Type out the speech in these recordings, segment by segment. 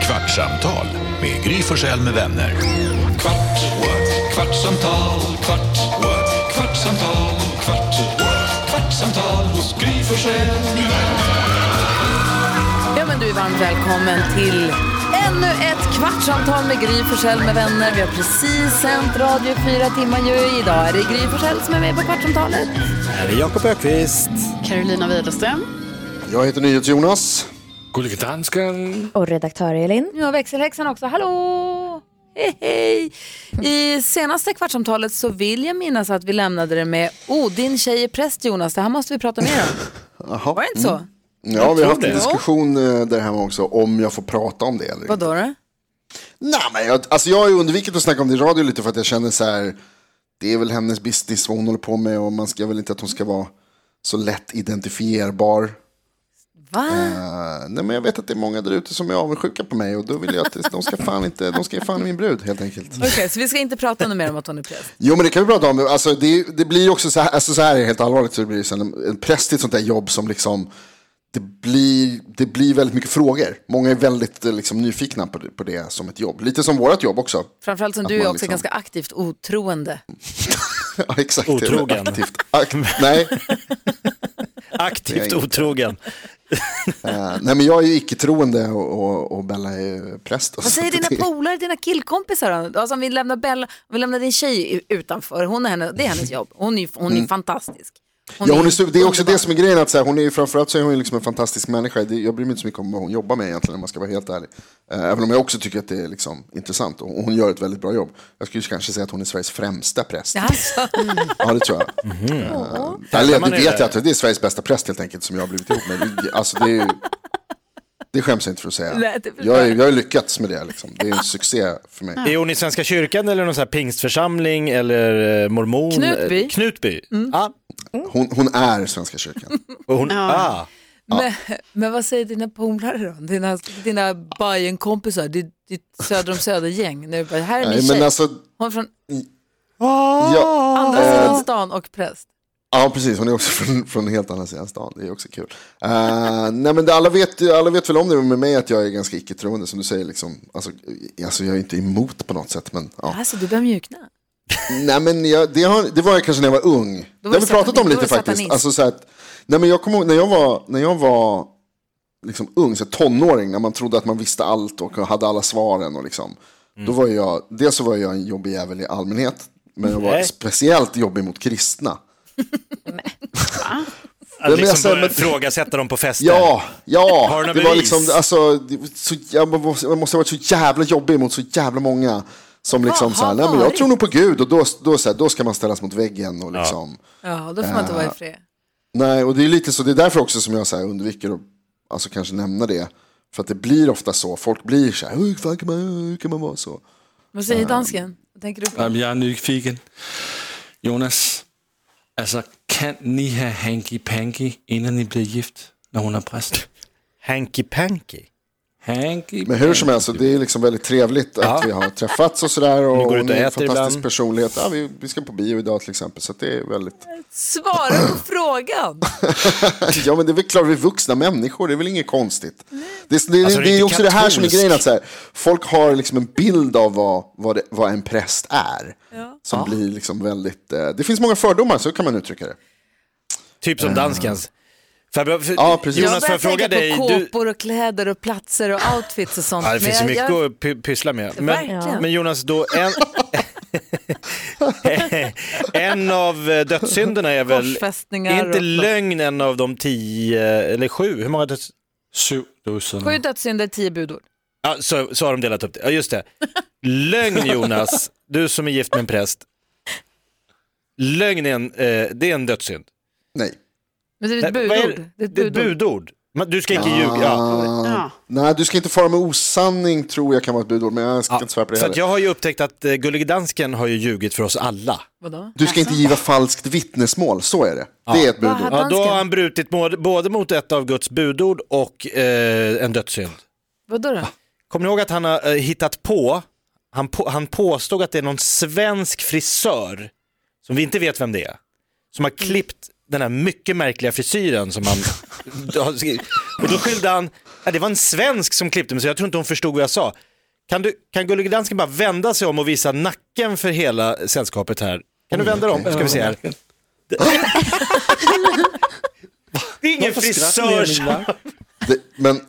Kvartsamtal med Gry Forssell med vänner. Kvart, what? kvartsamtal, kvart, what? kvartsamtal, kvart, what? kvartsamtal hos Gry Forssell med vänner. Ja, men du är varmt välkommen till ännu ett kvartsamtal med Gry Forssell med vänner. Vi har precis sänt radio i fyra timmar ju. Idag är det Gry Forssell som är med på kvartsamtalet. Här är Jakob Ökvist. Carolina Widerström. Jag heter NyhetsJonas. Gullige dansken. Och redaktör Elin. Nu har växelhäxan också. Hallå! Hej, hej! I senaste kvartsamtalet så vill jag minnas att vi lämnade det med oh, din tjej är präst Jonas, det här måste vi prata mer om. Var det inte så? Mm. Ja, vi har haft en det. diskussion eh, där hemma också om jag får prata om det. Eller inte. Vadå då? Nej, men jag, alltså jag har ju undvikit att snacka om det i radio lite för att jag känner så här, det är väl hennes business vad hon håller på med och man ska väl inte att hon ska vara så lätt identifierbar. Va? Eh, nej, men jag vet att det är många där ute som är avundsjuka på mig och då vill jag att de ska fan inte, de ska ge fan i min brud helt enkelt. Okej, så vi ska inte prata något mer om att hon är präst. Jo, men det kan vi prata om. Alltså, det, det blir ju också så här, alltså, så här är helt allvarligt, så det blir det så här, en präst är ett sånt där jobb som liksom, det blir, det blir väldigt mycket frågor. Många är väldigt eh, liksom, nyfikna på det, på det som ett jobb. Lite som vårt jobb också. Framförallt som Att du är man också liksom- ganska aktivt otroende. Ja, exakt. det är väl Otrogen. Aktivt. Ak nej, Aktivt otrogen. eh, nej, men jag är ju icke-troende och, och, och Bella är ju präst. och Vad så säger dina det- polare, dina killkompisar då? Alltså om vi lämnar Bella, om vi lämnar din tjej i- utanför, hon är henne, det är hennes jobb. Hon är, ju- hon är fantastisk. Mm. Ja, hon är, su- det är också underbar. det som är grejen, att så här, hon är ju framförallt så är hon ju liksom en fantastisk människa. Det- Jag bryr mig inte så mycket om vad hon jobbar med egentligen, om man ska vara helt ärlig. Eh, Även om jag också tycker att det är liksom intressant och och hon gör ett väldigt bra jobb. Jag skulle kanske säga att hon är Sveriges främsta präst. Ja, Alltså, det tror jag. Eh, Eller det vet man är Mhm. där. jag att det är Sveriges bästa präst helt enkelt som jag har blivit ihop med. Det- Alltså, det, är ju, det skäms jag inte för att säga. Nej, det förstår Jag, är, jag har lyckats med det, liksom. det är en succé för mig. Är hon i Svenska kyrkan eller någon sån här pingstförsamling eller eh, mormon? Knutby. Mm. Eh, Knutby. Ah, Hon, hon är Svenska kyrkan. och hon, ah. men, men vad säger dina polare då? Dina, dina Bajenkompisar, ditt, ditt söder om söder-gäng. Nu bara, Här är min Nej, men tjej, alltså, hon är från jag, andra sidan stan och präst. Ja, precis. Hon är också från, från helt andra sidan stan. Det är också kul. Eh, nej, men det, alla, vet, ju- alla vet väl om det med mig att jag är ganska icke-troende, som du säger. Liksom. Alltså, eh, alltså, jag är inte emot på något sätt, men ja. Alltså du börjar mjukna. Nej, men jag, det, har, det var jag kanske när jag var ung. Det har vi satanist- pratat om då lite var det faktiskt. satanist. Alltså, så att, nej, men jag kommer ihåg när jag var, när jag var liksom, ung, så här, tonåring, när man trodde att man visste allt och hade alla svaren. Och, liksom, då var jag, dels så var jag en jobbig jävel i allmänhet, men jag var Nej. speciellt jobbig mot kristna. Att jag liksom säger, börja men- ifrågasätta dem på fester. Ja, Har du ja. några Det var bevis? liksom, alltså, det- så, jag måste jag måste ha varit så jävla jobbig mot så jävla många. Som liksom har så här, nej men jag varit? tror nog på Gud och då, då, så här, då ska man ställas mot väggen och liksom. Ja, då får man inte vara i fred. Nej, och det är lite så, det är därför också som jag så här undviker att alltså, kanske nämna det. För att det blir ofta så, folk blir så här, hur fan kan man, hur kan man vara så? Vad säger dansken? Vad tänker du på? Jamen, jeg er nyfiken. Jonas, altså kan ni have hanky-panky, inden I bliver gift, når hun er præst? Hanky Panky. Hanky Men hur som helst, så det är liksom väldigt trevligt att vi har träffats och sådär. Och går hon ut och är en äter fantastisk ibland. personlighet. Ja, vi, vi ska på bio idag till exempel, så att det är väldigt... Svara på frågan. Ja men det är väl klart, vi är vuxna människor, det är väl inget konstigt. Det, det, Alltså, det, är inte också det här som är katolsk. grejen, att så här, folk har liksom en bild av vad, vad, det, vad en präst är. Som blir liksom väldigt, eh, det finns många fördomar, så kan man uttrycka det. Typ som danskens. Får jag- för- Mm. Ja, precis. Jag Jonas, får börjar jag fråga tänka dig? på Du, kåpor och kläder och platser och outfits och sånt. ja, det Men finns ju jag- mycket jag- att py- pyssla med. Verkligen. Men, men Jonas, då en... en av eh, dödssynderna är väl, Korsfästningar är inte och- lögn en av de tio, eh, eller sju, hur många döds... syv dusin. Sju dödssynder, tio budord. Ja, så, så har de delat upp det. Ja, just det. Lögn Jonas, du som är gift med en präst. Lögn är en, eh, det är en dödssynd. Nej. Men det är ett Nej, vad är budord. Det är ett Det är ett budord. budord. Man- Du ska inte Ah, ljuga. Ja. Eh, Nej, du ska inte fara med osanning tror jag kan vara ett budord, men jag ska inte svära på det För att heller. jag har ju upptäckt att eh, Gullige Dansken har ju ljugit för oss alla. Vadå? Du ska inte giva falskt vittnesmål, så är det. Det är ett budord. hade- Ja, då har Dansken. han brutit både- både mot ett av Guds budord och eh, en dödssynd. Vadå Ah, då? Kommer ni ihåg att han har eh, hittat på, han, på, han påstod att det är någon svensk frisör, som vi inte vet vem det är, som har klippt den här mycket märkliga frisyren som han har skrivit. Och då skyllde han Nej, det var en svensk som klippte mig så jag tror inte hon förstod vad jag sa. Kan, du, kan Gullige Dansken bara vända sig om och visa nacken för hela sällskapet här? Kan du vända dig om? Ska vi se här. Det är ingen frisörs... Det, men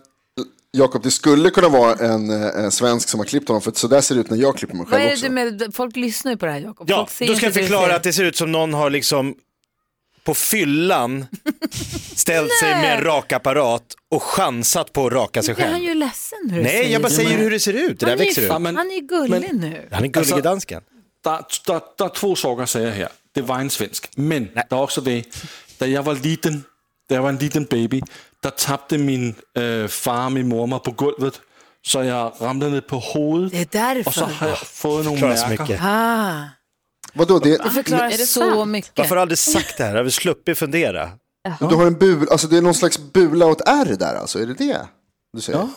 Jakob, det skulle kunna vara en, eh, en svensk som har klippt honom, för så där ser det ut när jag klipper mig Vad själv är det också. du med, folk lyssnar ju på det här Jakob. Ja, folk ser då inte ska jag det du förklara ser. att det ser ut som någon har liksom på fyllan ställt sig med en rakapparat och chansat på att raka sig Nu blir han själv. ju ledsen när du Nej, jag bara säger hur det ser ut. Det där Han är ju växer ut. Ja, men- Han är ju gullig men- nu. Han är Gullige Alltså- Dansken. Der, der, der er to saker, sagde jeg her. Det var en svensk. Men der er også det, da jeg var liten, da jeg var en liten baby, der tabte min øh, far min mor mig på gulvet, så jeg ramte ned på hovedet, Det är og så därför. har jeg fået nogle Klarar sig märker. mycket. Ah, Vadå, det, det förklarar Är det så sant? mycket. Varför har jag aldrig sagt det här? Har vi sluppit fundera? du har en bul, alltså det är någon slags bula åt R där alltså, är det det du säger? Ja.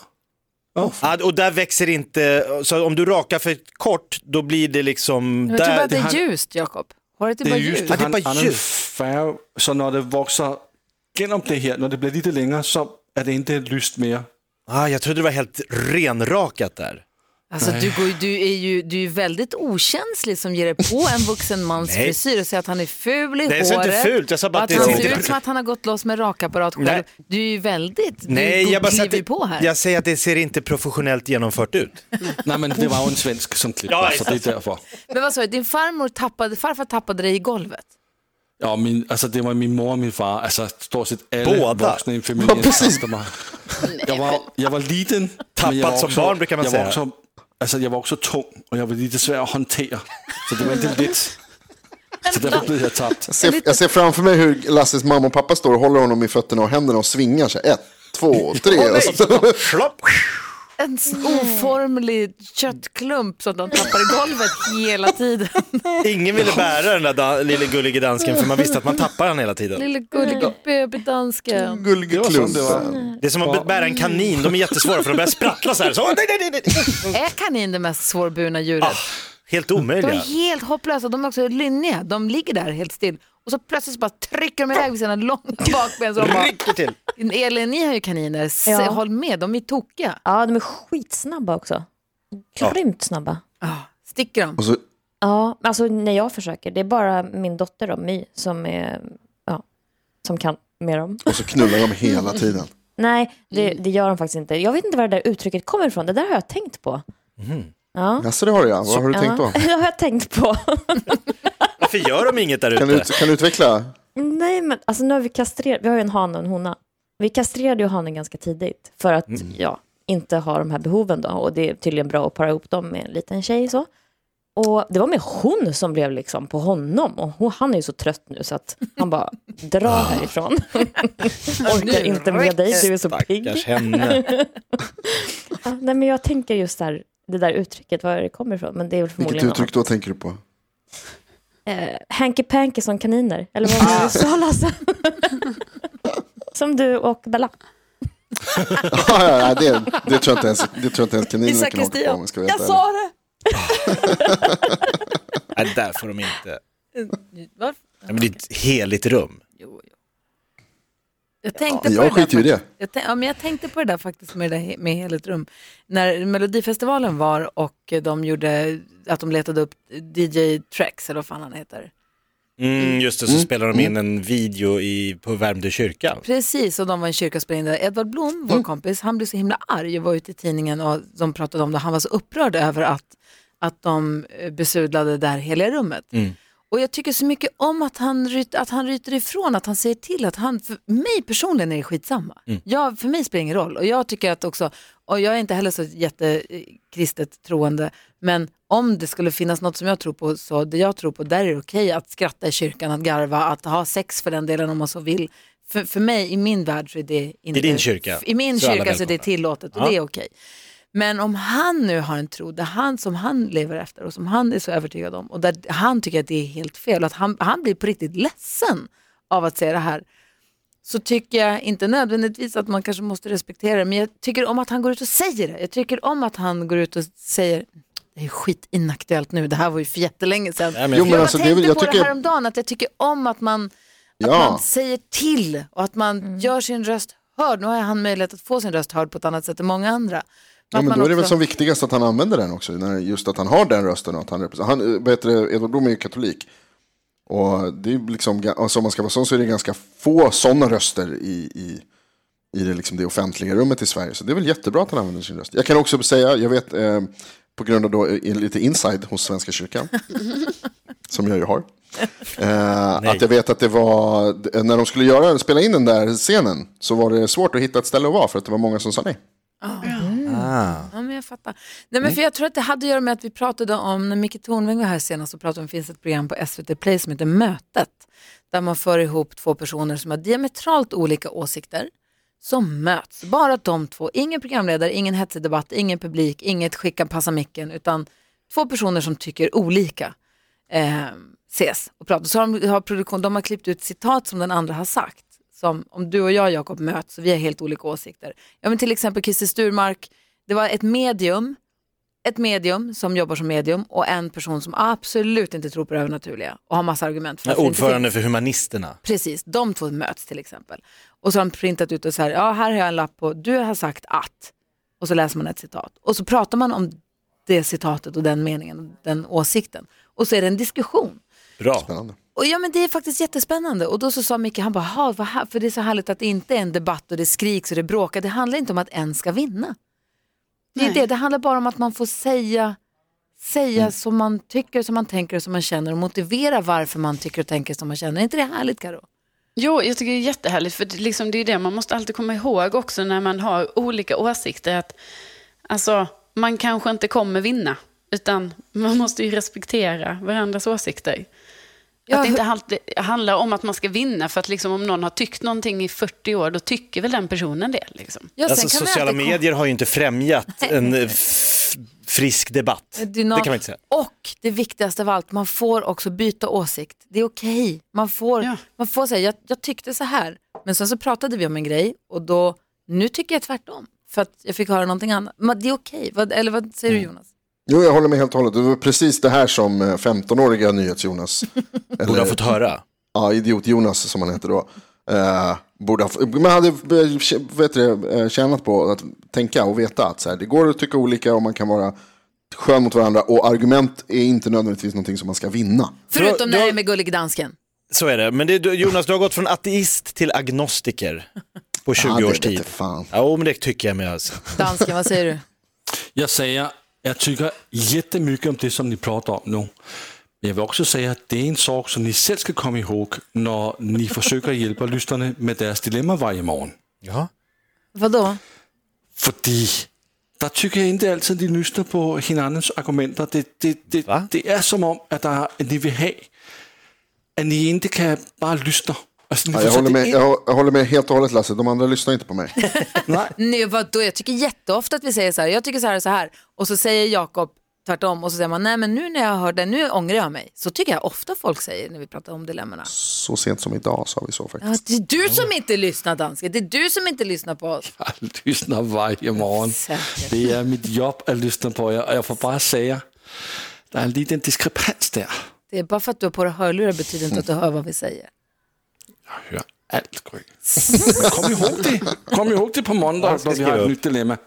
Ja, och där växer inte, så om du rakar för kort då blir det liksom Jag tror bara där. att det är han- ljust Jakob. Håret är Det bara er just ljust. det, det er han, bare han er en just. færge, så når det vokser gennem det her, når det bliver lidt længere, så er det ikke lyst mere. Ah, jag trodde det var helt renrakat där. Alltså du, går, ju- du är ju du är ju väldigt okänslig som ger dig på en vuxen mans Nej. frisyr och säger att han är ful i Nej, jag håret. sa inte fult, jag sa bara och att att det han ser ser inte- ut som att han har gått loss med rakapparat själv. Nej. Du är ju väldigt, du Nej, jag bara säger att kliver ju det, på här. jag säger att det ser inte professionellt genomfört ut. Nej, men det var jo en svensk, som klippede, Ja, så det er derfor. Men vad sa du, din farmor tappade, farfar tappade dig i golvet? Ja, min, altså det var min mor og min far, altså stort set alle Båda? voksne i familien Ja, præcis. tabte mig. Jeg var, jeg var liten. Tappet som barn, brukar man jeg sige. Var også, altså jeg var også tung, og jeg var lige desværre at håndtere, så det var lidt lidt. Så derfor blev jeg tabt. Jag, ser, jag ser framför mig hur Lasses mamma och pappa står och håller honom i fötterna och händerna och svingar sig. Ett, två, tre. och så, Slopp. En s- oformlig köttklump som de tappar i golvet hela tiden. Ingen ville bära den där da- lille gullige dansken för man visste att man tappar han hela tiden. Lille gullige bebisdansken. gullig klump. Det är som att bära en kanin, de är jättesvåra för de börjar sprattla så här. Så, nej, nej, nej, nej. Är kanin det mest svårburna djuret? Helt De omöjliga. är helt hopplösa, de är också lynniga. De ligger där helt still. Och så plötsligt så bara trycker de iväg med sina långa bakben. Så de bara, Rycker till. Elin, ni har ju kaniner. S- Ja. Håll med, de är tokiga. Ja, de är skitsnabba också. Grymt snabba. Sticker de? Och så, Ja, alltså när jag försöker. Det är bara min dotter då, My, som, är, ja, som kan med dem. och så knullar de hela tiden. Nej, det, det gör de faktiskt inte. Jag vet inte var det där uttrycket kommer ifrån. Det där har jag tänkt på. Ja. Jaså, det har du ja. Vad har du tänkt då? Ja, det har jag tänkt på. Varför gör de inget där Kan du, ute? kan du utveckla? Nej, men alltså nu har vi kastrerat, vi har ju en hane och en hona. Vi kastrerade ju hanen ganska tidigt för att, Mm. ja, inte ha de här behoven då. Och det är tydligen bra att para ihop dem med en liten tjej så. Och det var med hon som blev liksom på honom. Och hon, han är ju så trött nu så att han bara Ah. drar härifrån. Orkar inte med dig, du är så Stackars pigg. henne. Ja, nej, men jag tänker just där, det där uttrycket, var det kommer ifrån. Men det är väl Vilket förmodligen eh, uttryck då tänker du på? Hanky Panky som kaniner. Eller vad Ah. var det du sa Lasse? som du och Bella. Ja, ja, ja, det, det tror jag inte ens, det tror jag inte ens kaniner Isak kan åka på om jag ska vara helt ärlig. sa det! Nej, där får de inte. Varför? Nej, men det är ett heligt rum. Jo, jo. Jag tänkte på Jag det där skiter ju i det. Jag, tän- ja, men jag tänkte på det där faktiskt med, det där, he- med Heligt rum. När Melodifestivalen var och de gjorde att de letade upp DJ Trex eller vad fan han heter. Mm, just det, så spelar de in en video i, på Värmdö kyrka. Precis, och de var i en kyrka och spelade in det. Edvard Blom, vår kompis, han blev så himla arg och var ute i tidningen och de pratade om det. Han var så upprörd över att, att de eh, besudlade det här heliga rummet. Och jag tycker så mycket om att han, ryt, att han ryter ifrån, att han säger till, att han, för mig personligen är det skitsamma. Mm. Jag, för mig spelar det ingen roll. Och jag tycker att också, och jag är inte heller så jättekristet troende, men om det skulle finnas något som jag tror på, så det jag tror på, där är det okej att skratta i kyrkan, att garva, att ha sex för den delen om man så vill. För, för mig, i min värld, så är det inte... I din kyrka. I min Så är alla kyrka så är det välkomna. tillåtet och Ja. det är okej. Men om han nu har en tro där han, som han lever efter och som han är så övertygad om och där han tycker att det är helt fel och att han, han blir på riktigt ledsen av att se det här så tycker jag inte nödvändigtvis att man kanske måste respektera det men jag tycker om att han går ut och säger det. Jag tycker om att han går ut och säger det är skitinaktuellt nu, det här var ju för jättelänge sedan. Nej, men Jo, Jag bara men alltså, det, är tänkte väl- jag på det tycker... häromdagen, att jag tycker om att man, att Ja. man säger till och att man gör sin röst hörd. Nu har han möjlighet att få sin röst hörd på ett annat sätt än många andra. Ja, Att men man då är det väl också- som viktigast att han använder den också. När, just att han har den rösten och att han representerar. Han, eh, vad heter det, Edvard Blom är ju katolik. Och det är ju liksom, ga- alltså om man ska vara sån så är det ganska få sådana röster i, i, i det, liksom det offentliga rummet i Sverige. Så det är väl jättebra att han använder sin röst. Jag kan också säga, jag vet, eh, på grund av då, eh, lite inside hos Svenska kyrkan, som jag ju har. Eh, att jag vet att det var, d- när de skulle göra, spela in den där scenen så var det svårt att hitta ett ställe att vara för att det var många som sa nej. Ja, men jag fattar. Nej, Mm. men för jag tror att det hade att göra med att vi pratade om, när Micke Tornving var här senast, så pratade vi om, det finns ett program på SVT Play som heter Mötet, där man för ihop två personer som har diametralt olika åsikter, som möts. Bara de två, ingen programledare, ingen hetsig debatt, ingen publik, inget skicka passa micken, utan två personer som tycker olika eh, ses och pratar. Så har de, har produktion, de har klippt ut citat som den andra har sagt. Som om du och jag, Jakob, möts och vi har helt olika åsikter. Ja, men till exempel Christer Sturmark, det var ett medium, ett medium som jobbar som medium och en person som absolut inte tror på det övernaturliga och har massa argument för Nej, varför det inte Ordförande för Humanisterna. Precis, de två möts till exempel. Och så har de printat ut och så här, ja här har jag en lapp på, du har sagt att. Och så läser man ett citat. Och så pratar man om det citatet och den meningen och den åsikten. Och så är det en diskussion. Bra. Och ja men det är faktiskt jättespännande. Och då så sa Micke, han bara, "Ha, vad här, för det är så härligt att det inte är en debatt och det skriks och det bråkar. Det handlar inte om att en ska vinna. Det, är Nej. det. det handlar bara om att man får säga, säga som man tycker, som man tänker och som man känner och motivera varför man tycker och tänker som man känner. Är inte det härligt Karo? Jo, jag tycker det är jättehärligt, för det- liksom, det är det man måste alltid komma ihåg också när man har olika åsikter. Att, alltså, man kanske inte kommer vinna, utan man måste ju respektera varandras åsikter. Ja, att det inte hur- alltid handlar om att man ska vinna, för att liksom, om någon har tyckt någonting i 40 år, då tycker väl den personen det. Liksom. Ja, sen Alltså, kan vi sociala alltid kom- medier har ju inte främjat en eh, f- frisk debatt. Det kan Dynam- man inte säga. Och det viktigaste av allt, man får också byta åsikt. Det är okej. Man får, Ja. man får säga, jag, jag tyckte så här, men sen så pratade vi om en grej och då, nu tycker jag tvärtom. För att jag fick höra någonting annat. Men det är okej, Vad- eller vad säger Mm. du Jonas? Jo, jag håller med helt och hållet. Det var precis det här som eh, 15-åriga NyhetsJonas, Borde eller ha fått höra. ja, Idiot-Jonas som han heter då, eh, borde ha, f- man hade eh, tj- vet du, det, eh, tjänat på att tänka och veta att så här, det går att tycka olika och man kan vara skön mot varandra och argument är inte nödvändigtvis någonting som man ska vinna. Då- Förutom när då- jag är med Gullig Dansken. Så är det. Men det, du- Jonas, du har gått från ateist till agnostiker på 20 Ja, det års vete tid. Fan. Ja, men det tycker jag med. Alltså. Dansken, vad säger du? Jag säger, jag tycker jättemycket om det som ni pratar om nu. Men jag vill också säga att det är en sak som ni själv ska komma ihåg när ni försöker hjälpa lyssnarna med deras dilemma varje morgon. Ja. Vadå? Fordi der tycker jag inte altid, de lyssnar på hinandens argumenter. Det, det, det, Hva? det är som om, att der, at ni vil have, at ni inte kan bara lyssna. Altså, ni Ja, får jag, sætte håller med, ind- jag, hå- jag håller med helt och hållet Lasse, de andra lyssnar inte på mig. Nej, Nej, vadå? Jag tycker jätteofta att vi säger så här, jag tycker så här och så här. Och så säger Jakob tvärtom och så säger man, nej men nu när jag hör det, nu ångrar jag mig. Så tycker jag ofta folk säger när vi pratar om dilemmorna. Så sent som idag sa vi så faktiskt. Ja, det är du som inte lyssnar danska. Det är du som inte lyssnar på oss. jeg lyssnar varje morgon. Säkert. Det är mitt jobb att lyssna på jer, og jeg får bare säga, der er lige den diskrepans der. Det är bara för att du har på dig hörlurar betyder inte att du hör vad vi säger. Jeg hører alt, Gry. Men kom ihåg det. Kom ihåg det på måndag, når vi har et nyt dilemma.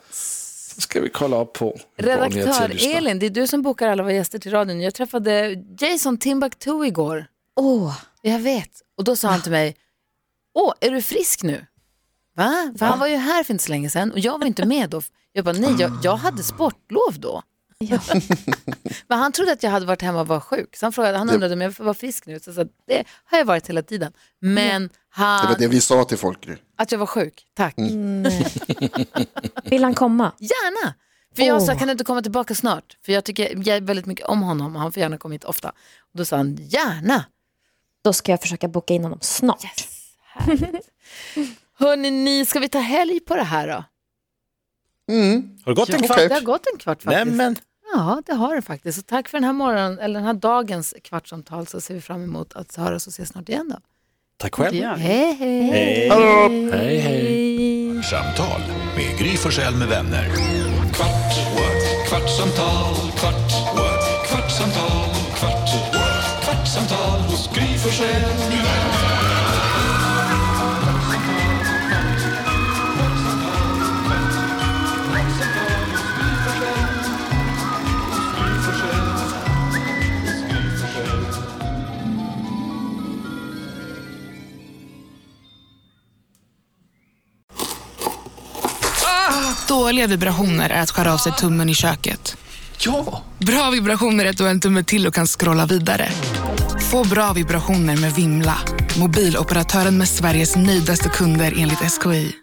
Så skal vi kolla op på. hvor ni er til at Redaktör lyssna. Elin, det är du som bokar alla våra gäster till radion. Jag träffade Jason Timbuktu igår. Åh, jag vet. Och då sa han till mig, åh, är du frisk nu? Va? För han var ju här för inte så länge sedan och jag var inte med då. Jag bara, nej, jag, jag hade sportlov då. Ja. Men han trodde att jag hade varit hemma och var sjuk. Så han, frågade, han undrade om jag var frisk nu. Så jag sa, det har jag varit hela tiden. Men Det var han, det vi sa till folk nu. att jag var sjuk, tack. Mm. Vill han komma? Gärna! För jag sa, Åh. kan du inte komma tillbaka snart? För jag tycker jag väldigt mycket om honom och han får gärna komma hit ofta. Och då sa han, gärna! Då ska jag försöka boka in honom snart. Hörrni, ni, ska vi ta helg på det här då? Har det gått en kvart? okej. Det har gått en kvart faktiskt. Nämen. Ja, det har det faktiskt. Så tack för den här morgonen, eller den här dagens kvartsamtal så ser vi fram emot att höras och ses snart igen då. Tack själv. Ja. Hej, hej! Hej, hej. Kvartsamtal med Gry Forssell med vänner. Kvart, what? kvartsamtal, kvart, what? kvartsamtal, kvart, what? kvartsamtal hos Gry Forssell med vänner. Dåliga vibrationer är att skära av sig tummen i köket. Ja! Bra vibrationer är att du har en tumme till och kan scrolla vidare. Få bra vibrationer med Vimla. Mobiloperatören med Sveriges nöjdaste kunder enligt SKI.